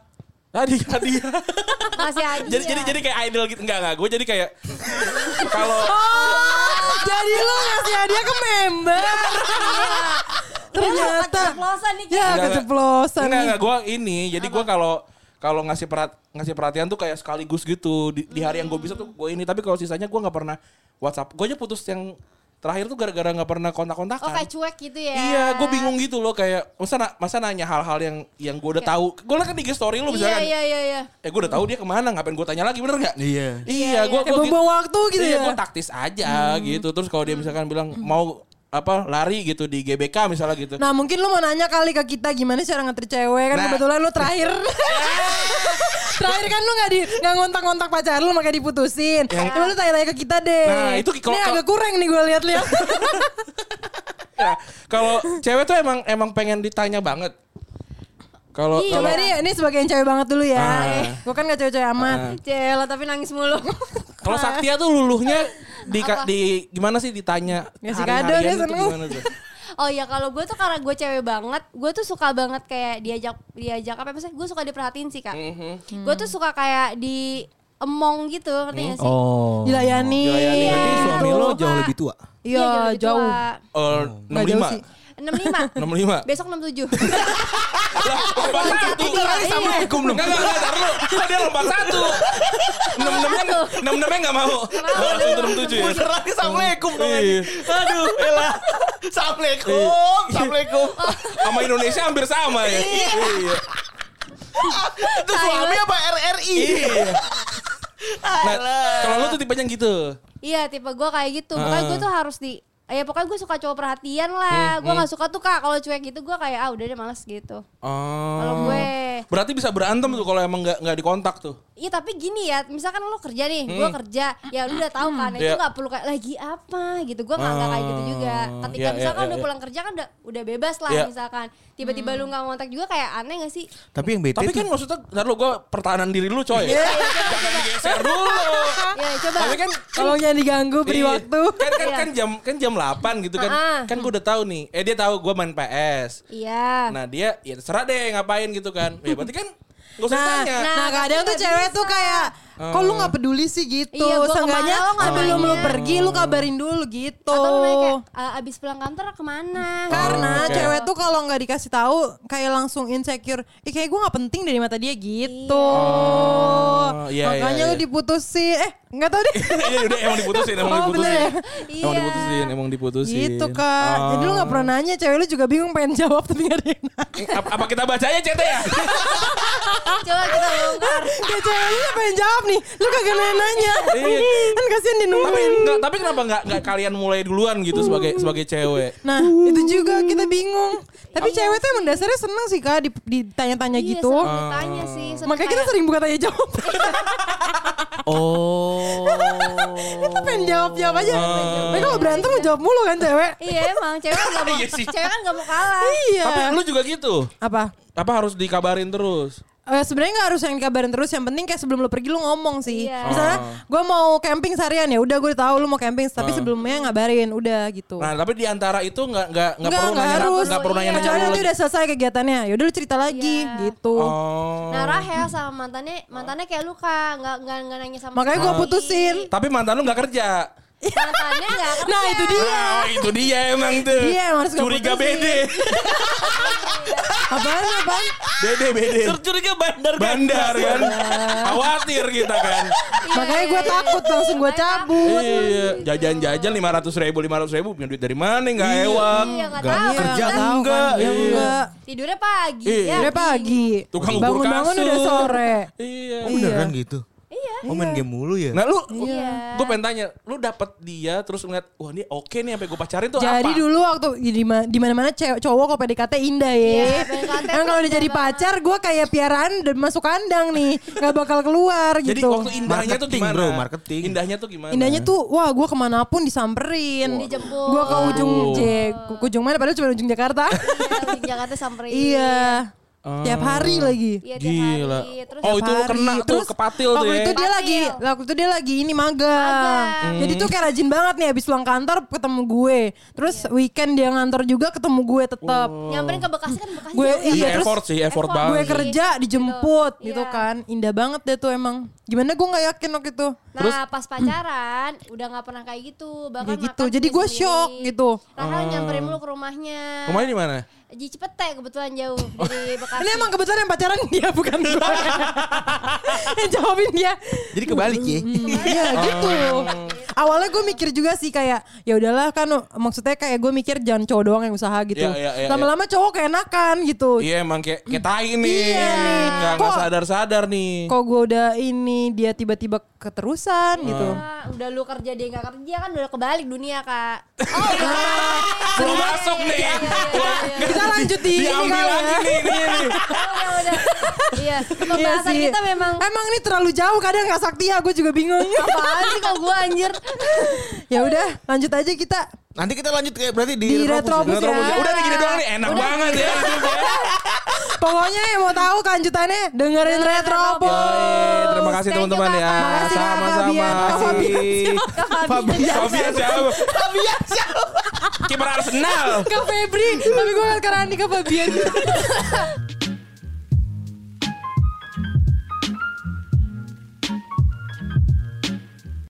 [SPEAKER 3] Tadi hadiah.
[SPEAKER 2] Masih aja.
[SPEAKER 3] jadi jadi jadi kayak idol gitu enggak enggak. Gua jadi kayak kalau
[SPEAKER 1] Oh, jadi lu ngasih hadiah ke member. Ternyata.
[SPEAKER 2] Keceplosan nih
[SPEAKER 1] Ya
[SPEAKER 2] Kak.
[SPEAKER 3] Enggak, enggak.
[SPEAKER 1] keceplosan
[SPEAKER 3] Enggak,
[SPEAKER 1] nih.
[SPEAKER 3] enggak, gue ini. Jadi gue kalau kalau ngasih perat ngasih perhatian tuh kayak sekaligus gitu di, di hari yang gue bisa tuh gue ini tapi kalau sisanya gue nggak pernah WhatsApp gue aja putus yang terakhir tuh gara-gara nggak pernah kontak-kontakan
[SPEAKER 2] Oh kayak cuek gitu ya.
[SPEAKER 3] iya gue bingung gitu loh kayak masa na- masa nanya hal-hal yang yang gue udah tahu gue liat kan di story lu
[SPEAKER 2] Iya
[SPEAKER 3] misalkan
[SPEAKER 2] iya iya iya.
[SPEAKER 3] eh gue udah tahu dia kemana ngapain gue tanya lagi bener nggak
[SPEAKER 4] Iya.
[SPEAKER 3] iya gue
[SPEAKER 1] Kayak buang waktu gitu
[SPEAKER 3] iya,
[SPEAKER 1] ya.
[SPEAKER 3] gue taktis aja gitu terus kalau dia misalkan bilang mau apa lari gitu di GBK misalnya gitu
[SPEAKER 1] Nah mungkin lu mau nanya kali ke kita gimana cara ngeter cewek kan
[SPEAKER 3] Nah.
[SPEAKER 1] kebetulan lu terakhir. terakhir kan lu gak di nggak ngontak-ngontak pacar lu makanya diputusin. Coba lu tanya-tanya ke kita deh.
[SPEAKER 3] Nah, itu kalau-
[SPEAKER 1] Ini
[SPEAKER 3] kalau-
[SPEAKER 1] agak kurang nih gue lihat-lihat.
[SPEAKER 3] Nah, kalau cewek tuh emang emang pengen ditanya banget. Kalau
[SPEAKER 2] Iya.
[SPEAKER 1] Coba
[SPEAKER 3] kalau
[SPEAKER 1] nih ini sebagai yang cewek banget dulu ya.
[SPEAKER 3] Ah.
[SPEAKER 1] Gue kan gak cewek-cewek amat.
[SPEAKER 3] Nah.
[SPEAKER 2] Cela tapi nangis mulu. *laughs*
[SPEAKER 3] kalau Saktia tuh luluhnya di di gimana sih ditanya
[SPEAKER 1] Ngasih
[SPEAKER 3] hari-harian
[SPEAKER 1] kado dia
[SPEAKER 3] itu
[SPEAKER 1] seneng.
[SPEAKER 3] gimana tuh?
[SPEAKER 2] Oh ya kalau gue tuh karena gue cewek banget, gue tuh suka banget kayak diajak diajak apa maksudnya gue suka diperhatiin sih kak.
[SPEAKER 3] Mm-hmm.
[SPEAKER 2] Gue tuh suka kayak di emong gitu ngerti gak sih?
[SPEAKER 4] Oh.
[SPEAKER 1] Dilayani.
[SPEAKER 3] Dilayani.
[SPEAKER 2] Berarti
[SPEAKER 1] gitu.
[SPEAKER 4] Suami lo
[SPEAKER 2] Kak.
[SPEAKER 4] jauh lebih tua.
[SPEAKER 1] Iya jauh.
[SPEAKER 3] Oh,
[SPEAKER 1] Nggak jauh
[SPEAKER 3] 65.
[SPEAKER 1] sih.
[SPEAKER 2] 65
[SPEAKER 3] 65.
[SPEAKER 2] Besok 67
[SPEAKER 3] Lompat satu.
[SPEAKER 2] sama
[SPEAKER 3] Hukum dong. Enggak enggak enggak, taruh lu. Kan dia lompat satu. 66 66 enggak mau. Oh, langsung turun tujuh ya.
[SPEAKER 4] Beneran Assalamualaikum dong
[SPEAKER 3] Iya.
[SPEAKER 4] anjing. Aduh, elah.
[SPEAKER 3] *laughs*
[SPEAKER 4] Assalamualaikum, Assalamualaikum.
[SPEAKER 2] Oh,
[SPEAKER 3] Sama Indonesia hampir sama ya. Iya.
[SPEAKER 4] Itu suami apa RRI?
[SPEAKER 3] Iya.
[SPEAKER 1] Iya.
[SPEAKER 3] Nah, kalau lu tuh tipenya yang gitu.
[SPEAKER 2] *laughs* Iya tipe gue kayak gitu
[SPEAKER 3] Ah.
[SPEAKER 2] Pokoknya gue tuh harus di Ya pokoknya gue suka cowok perhatian
[SPEAKER 3] Hmm,
[SPEAKER 2] lah Gue gak suka tuh kak kalau cuek gitu gue kayak ah udah deh males gitu
[SPEAKER 3] Oh.
[SPEAKER 2] Kalau gue
[SPEAKER 3] Berarti bisa berantem tuh kalau emang nggak nggak dikontak tuh.
[SPEAKER 2] Iya tapi gini ya, misalkan lo kerja nih, gue
[SPEAKER 3] Hmm.
[SPEAKER 2] kerja, ya lu udah tahu kan, itu
[SPEAKER 3] Iya.
[SPEAKER 2] nggak perlu kayak lagi apa gitu, gue nggak nggak kayak gitu juga. Ketika
[SPEAKER 3] Iya, iya,
[SPEAKER 2] misalkan
[SPEAKER 3] iya,
[SPEAKER 2] udah
[SPEAKER 3] iya.
[SPEAKER 2] pulang kerja kan udah udah bebas lah
[SPEAKER 3] Iya.
[SPEAKER 2] misalkan, tiba-tiba
[SPEAKER 3] Hmm.
[SPEAKER 2] lu nggak ngontak juga kayak aneh gak sih?
[SPEAKER 4] Tapi yang bete
[SPEAKER 3] Tapi kan maksudnya, ntar lu gue pertahanan diri lu coy.
[SPEAKER 1] Iya.
[SPEAKER 3] Jangan digeser dulu.
[SPEAKER 2] Ya coba.
[SPEAKER 3] Tapi kan
[SPEAKER 1] Tolong jangan diganggu beri
[SPEAKER 3] Iya.
[SPEAKER 1] waktu.
[SPEAKER 3] Kan kan,
[SPEAKER 2] Iya.
[SPEAKER 3] kan jam kan jam 8 gitu kan.
[SPEAKER 2] Ah.
[SPEAKER 3] Kan gue udah tahu nih. Eh dia tahu gue main PS.
[SPEAKER 2] Iya.
[SPEAKER 1] Ah.
[SPEAKER 3] Nah dia ya serah deh ngapain gitu kan.
[SPEAKER 1] *laughs*
[SPEAKER 3] Ya berarti kan gak usah
[SPEAKER 1] Nah,
[SPEAKER 3] tanya.
[SPEAKER 1] nah,
[SPEAKER 2] Nah, tapi
[SPEAKER 1] kadang tuh
[SPEAKER 2] nggak
[SPEAKER 1] cewek
[SPEAKER 2] bisa.
[SPEAKER 1] tuh kayak kok lu nggak peduli sih gitu.
[SPEAKER 2] Iya, gua
[SPEAKER 1] Seenggaknya
[SPEAKER 2] kemana lo nggak
[SPEAKER 1] sebelum lu
[SPEAKER 2] nanya.
[SPEAKER 1] pergi lu kabarin dulu gitu.
[SPEAKER 2] Atau lu nanya kayak "Ah, abis pulang kantor kemana?
[SPEAKER 1] Karena
[SPEAKER 3] Oh, oke.
[SPEAKER 1] cewek tuh kalau nggak dikasih tahu kayak langsung insecure. Ih kayak gue nggak penting dari mata dia gitu.
[SPEAKER 3] Oh, iya,
[SPEAKER 1] Makanya
[SPEAKER 3] iya,
[SPEAKER 1] lu
[SPEAKER 3] iya.
[SPEAKER 1] diputusin. Eh nggak tahu deh.
[SPEAKER 3] *laughs* Iya udah emang diputusin, emang
[SPEAKER 1] Oh,
[SPEAKER 3] diputusin.
[SPEAKER 1] bener
[SPEAKER 2] Iya.
[SPEAKER 3] Emang diputusin, emang *laughs* diputusin. Ah. Oh.
[SPEAKER 1] gitu kak. Jadi lu nggak pernah nanya. Cewek lu juga bingung pengen jawab tapi nggak ada yang nanya.
[SPEAKER 3] *laughs* Eh, Apa, apa kita baca aja chat
[SPEAKER 1] *laughs*
[SPEAKER 3] ya?
[SPEAKER 2] Coba kita bongkar.
[SPEAKER 1] Kayak cewek lu pengen jawab nih. Lu kagak nanya. nanya.
[SPEAKER 3] Iya.
[SPEAKER 1] kan kasihan
[SPEAKER 3] tapi,
[SPEAKER 1] dinungguin.
[SPEAKER 3] nggak- tapi kenapa nggak nggak kalian mulai duluan gitu sebagai sebagai cewek?
[SPEAKER 1] Nah itu juga kita bingung. Tapi cewek tuh emang dasarnya seneng sih kak di- ditanya-tanya
[SPEAKER 2] Iya,
[SPEAKER 1] gitu.
[SPEAKER 2] seneng ditanya sih. seneng
[SPEAKER 1] Makanya kita
[SPEAKER 2] kayak- Oh.
[SPEAKER 1] sering buka tanya jawab.
[SPEAKER 4] Oh.
[SPEAKER 1] *laughs* Kita pengen jawab jawab aja. Tapi kalau berantem jawab mulu kan cewek.
[SPEAKER 2] Oh. Iya emang cewek kan
[SPEAKER 1] *laughs*
[SPEAKER 2] gak mau,
[SPEAKER 3] Iya sih.
[SPEAKER 2] cewek kan gak mau kalah.
[SPEAKER 1] Iya.
[SPEAKER 3] Tapi lu juga gitu.
[SPEAKER 1] apa?
[SPEAKER 3] Apa harus dikabarin terus?
[SPEAKER 1] Eh, sebenarnya nggak harus yang kabarin terus yang penting kayak sebelum lu pergi lu ngomong sih
[SPEAKER 2] Iya.
[SPEAKER 1] misalnya
[SPEAKER 3] Oh.
[SPEAKER 1] gue mau camping seharian ya udah gue tahu lu mau camping tapi sebelumnya ngabarin udah gitu
[SPEAKER 3] Nah, tapi di antara itu nggak nggak nggak
[SPEAKER 1] Nggak,
[SPEAKER 3] perlu
[SPEAKER 1] nggak
[SPEAKER 3] nanya
[SPEAKER 1] harus.
[SPEAKER 3] nggak perlu
[SPEAKER 2] Iya.
[SPEAKER 3] nanya nanya
[SPEAKER 1] kecuali
[SPEAKER 3] lu
[SPEAKER 1] nanti
[SPEAKER 3] lagi.
[SPEAKER 1] udah selesai kegiatannya ya udah lu cerita lagi
[SPEAKER 2] Iya.
[SPEAKER 1] gitu
[SPEAKER 3] Oh.
[SPEAKER 2] Nah Rahel sama mantannya, mantannya kayak lu kak, gak, gak, gak nanya sama
[SPEAKER 1] Makanya gua
[SPEAKER 2] sekali. Iya.
[SPEAKER 1] putusin.
[SPEAKER 3] Tapi mantan lu nggak kerja.
[SPEAKER 2] Mantannya gak
[SPEAKER 1] *laughs*
[SPEAKER 2] kerja.
[SPEAKER 1] nah itu dia
[SPEAKER 3] Nah, itu dia emang tuh.
[SPEAKER 1] Dia yang harus gua
[SPEAKER 3] Curiga
[SPEAKER 1] putusin.
[SPEAKER 3] *laughs* bede.
[SPEAKER 1] apaan apaan
[SPEAKER 3] Bede bede.
[SPEAKER 4] Curiga bandar kan?
[SPEAKER 3] Bandar kan. Khawatir kita kan.
[SPEAKER 1] makanya
[SPEAKER 2] Iya.
[SPEAKER 1] gue takut langsung gue cabut
[SPEAKER 3] Iya, jajan-jajan lima ratus ribu, lima ratus ribu punya duit dari mana? Nggak ewang.
[SPEAKER 2] Iya gak tau.
[SPEAKER 1] Iya,
[SPEAKER 2] Kerja
[SPEAKER 1] nggak tahu
[SPEAKER 3] enggak,
[SPEAKER 1] kan. Ya
[SPEAKER 3] iya.
[SPEAKER 1] enggak
[SPEAKER 2] Tidurnya pagi.
[SPEAKER 3] Iya.
[SPEAKER 2] ya.
[SPEAKER 1] udah pagi
[SPEAKER 3] Tukang ukur
[SPEAKER 1] bangun-bangun udah
[SPEAKER 3] kasur. *laughs*
[SPEAKER 1] sore
[SPEAKER 3] Iya.
[SPEAKER 1] Iya.
[SPEAKER 5] Beneran gitu.
[SPEAKER 2] Iya.
[SPEAKER 5] Oh main game mulu ya.
[SPEAKER 3] Nah lu,
[SPEAKER 2] Iya.
[SPEAKER 3] gue pengen tanya, lu dapet dia terus ngeliat, wah ini oke nih sampai gue pacarin tuh
[SPEAKER 1] Jadi
[SPEAKER 3] apa?
[SPEAKER 1] dulu waktu ya, di ma- di mana-mana cewek- cowok kalau PDKT indah
[SPEAKER 2] Iya,
[SPEAKER 1] *laughs* ya.
[SPEAKER 2] PDKT
[SPEAKER 1] Kan kalau udah
[SPEAKER 2] indah
[SPEAKER 1] jadi
[SPEAKER 2] banget.
[SPEAKER 1] pacar gue kayak piaraan dan masuk kandang nih, nggak bakal keluar
[SPEAKER 3] Jadi
[SPEAKER 1] gitu.
[SPEAKER 3] waktu indahnya tuh
[SPEAKER 5] Marketing,
[SPEAKER 3] gimana?
[SPEAKER 5] bro, marketing.
[SPEAKER 3] Indahnya tuh gimana?
[SPEAKER 1] Indahnya tuh wah gue kemanapun disamperin.
[SPEAKER 2] Dijemput.
[SPEAKER 1] Gue ke ujung
[SPEAKER 3] Oh.
[SPEAKER 1] J, ke ujung mana padahal cuma ujung Jakarta.
[SPEAKER 2] Iya, di Jakarta samperin.
[SPEAKER 1] iya. Tiap hari
[SPEAKER 3] Oh.
[SPEAKER 1] lagi.
[SPEAKER 2] Iya, tiap
[SPEAKER 3] Gila.
[SPEAKER 2] hari. Terus
[SPEAKER 3] oh itu lu
[SPEAKER 1] Hari.
[SPEAKER 3] kena tuh
[SPEAKER 1] Terus
[SPEAKER 3] kepatil tuh
[SPEAKER 1] waktu
[SPEAKER 3] ya.
[SPEAKER 1] itu dia
[SPEAKER 2] Kepatil.
[SPEAKER 1] lagi waktu itu dia lagi ini magang.
[SPEAKER 2] Magang.
[SPEAKER 1] Jadi tuh kayak rajin banget nih habis pulang kantor ketemu gue. Terus
[SPEAKER 2] Iya.
[SPEAKER 1] weekend dia ngantor juga ketemu gue tetap.
[SPEAKER 3] Oh.
[SPEAKER 2] nyamperin ke Bekasi kan Bekasi
[SPEAKER 1] Gue-
[SPEAKER 2] jauh ya.
[SPEAKER 1] iya,
[SPEAKER 3] Iya,
[SPEAKER 1] terus
[SPEAKER 3] effort sih, effort,
[SPEAKER 2] effort.
[SPEAKER 1] gue
[SPEAKER 3] banget.
[SPEAKER 1] kerja dijemput
[SPEAKER 2] Gitu.
[SPEAKER 1] gitu
[SPEAKER 2] Iya.
[SPEAKER 1] kan indah banget deh tuh emang gimana gue nggak yakin waktu itu
[SPEAKER 2] Nah pas pacaran udah nggak pernah kayak gitu bahkan
[SPEAKER 1] Kayak gitu.
[SPEAKER 2] makan
[SPEAKER 1] Jadi gue
[SPEAKER 2] sendiri.
[SPEAKER 1] shock gitu.
[SPEAKER 2] Rahel nyamperin mulu ke rumahnya
[SPEAKER 3] Oh. Rumahnya Oh. di mana?
[SPEAKER 2] di Cipete kebetulan jauh dari Bekasi
[SPEAKER 1] ini emang kebetulan yang pacaran dia *laughs* bukan
[SPEAKER 2] Iya.
[SPEAKER 1] gue yang jawabin dia
[SPEAKER 5] Jadi kebalik ya.
[SPEAKER 1] iya gitu awalnya gue mikir juga sih kayak ya udahlah kan maksudnya kayak gue mikir jangan cowok doang yang usaha gitu
[SPEAKER 3] Iya, iya, iya,
[SPEAKER 1] lama-lama cowok keenakan gitu
[SPEAKER 3] Iya emang kayak kayak tai nih.
[SPEAKER 1] Iya.
[SPEAKER 3] Nggak nggak
[SPEAKER 1] Kok-
[SPEAKER 3] sadar-sadar nih.
[SPEAKER 1] kok gue udah ini dia tiba-tiba keterusan gitu
[SPEAKER 3] Oh.
[SPEAKER 2] Nah, udah lu kerja dia nggak kerja kan udah kebalik dunia kak *laughs* Iya,
[SPEAKER 3] Suruh masuk nih.
[SPEAKER 1] kita lanjut di ini
[SPEAKER 3] Diambil
[SPEAKER 1] kali
[SPEAKER 3] lagi
[SPEAKER 1] ya.
[SPEAKER 3] nih ini. nih.
[SPEAKER 2] udah udah iya
[SPEAKER 1] Iya
[SPEAKER 2] pembahasan
[SPEAKER 1] sih.
[SPEAKER 2] kita memang Oh.
[SPEAKER 1] Emang ini terlalu jauh kadang gak sakti ya gue juga
[SPEAKER 2] *laughs*
[SPEAKER 1] bingung
[SPEAKER 2] apaan sih kalau gue anjir
[SPEAKER 1] ya udah lanjut aja kita
[SPEAKER 5] Nanti kita lanjut kayak berarti di,
[SPEAKER 1] Di Retrobus
[SPEAKER 5] ya.
[SPEAKER 1] ya.
[SPEAKER 3] Udah nih gini doang nih enak banget ya.
[SPEAKER 1] pokoknya yang mau tahu kelanjutannya dengerin retrobus
[SPEAKER 3] Yoi, terima kasih
[SPEAKER 2] Thank you,
[SPEAKER 3] teman-teman ya.
[SPEAKER 2] Kakak.
[SPEAKER 1] Makasih, Kakak Fabian.
[SPEAKER 3] Sama-sama.
[SPEAKER 1] Kak Fabian
[SPEAKER 2] Kak Fabi
[SPEAKER 3] Fabian siapa? Fabian siapa? Kiper Arsenal.
[SPEAKER 1] ke Febri tapi gue ngeliat ke Rani ke Fabian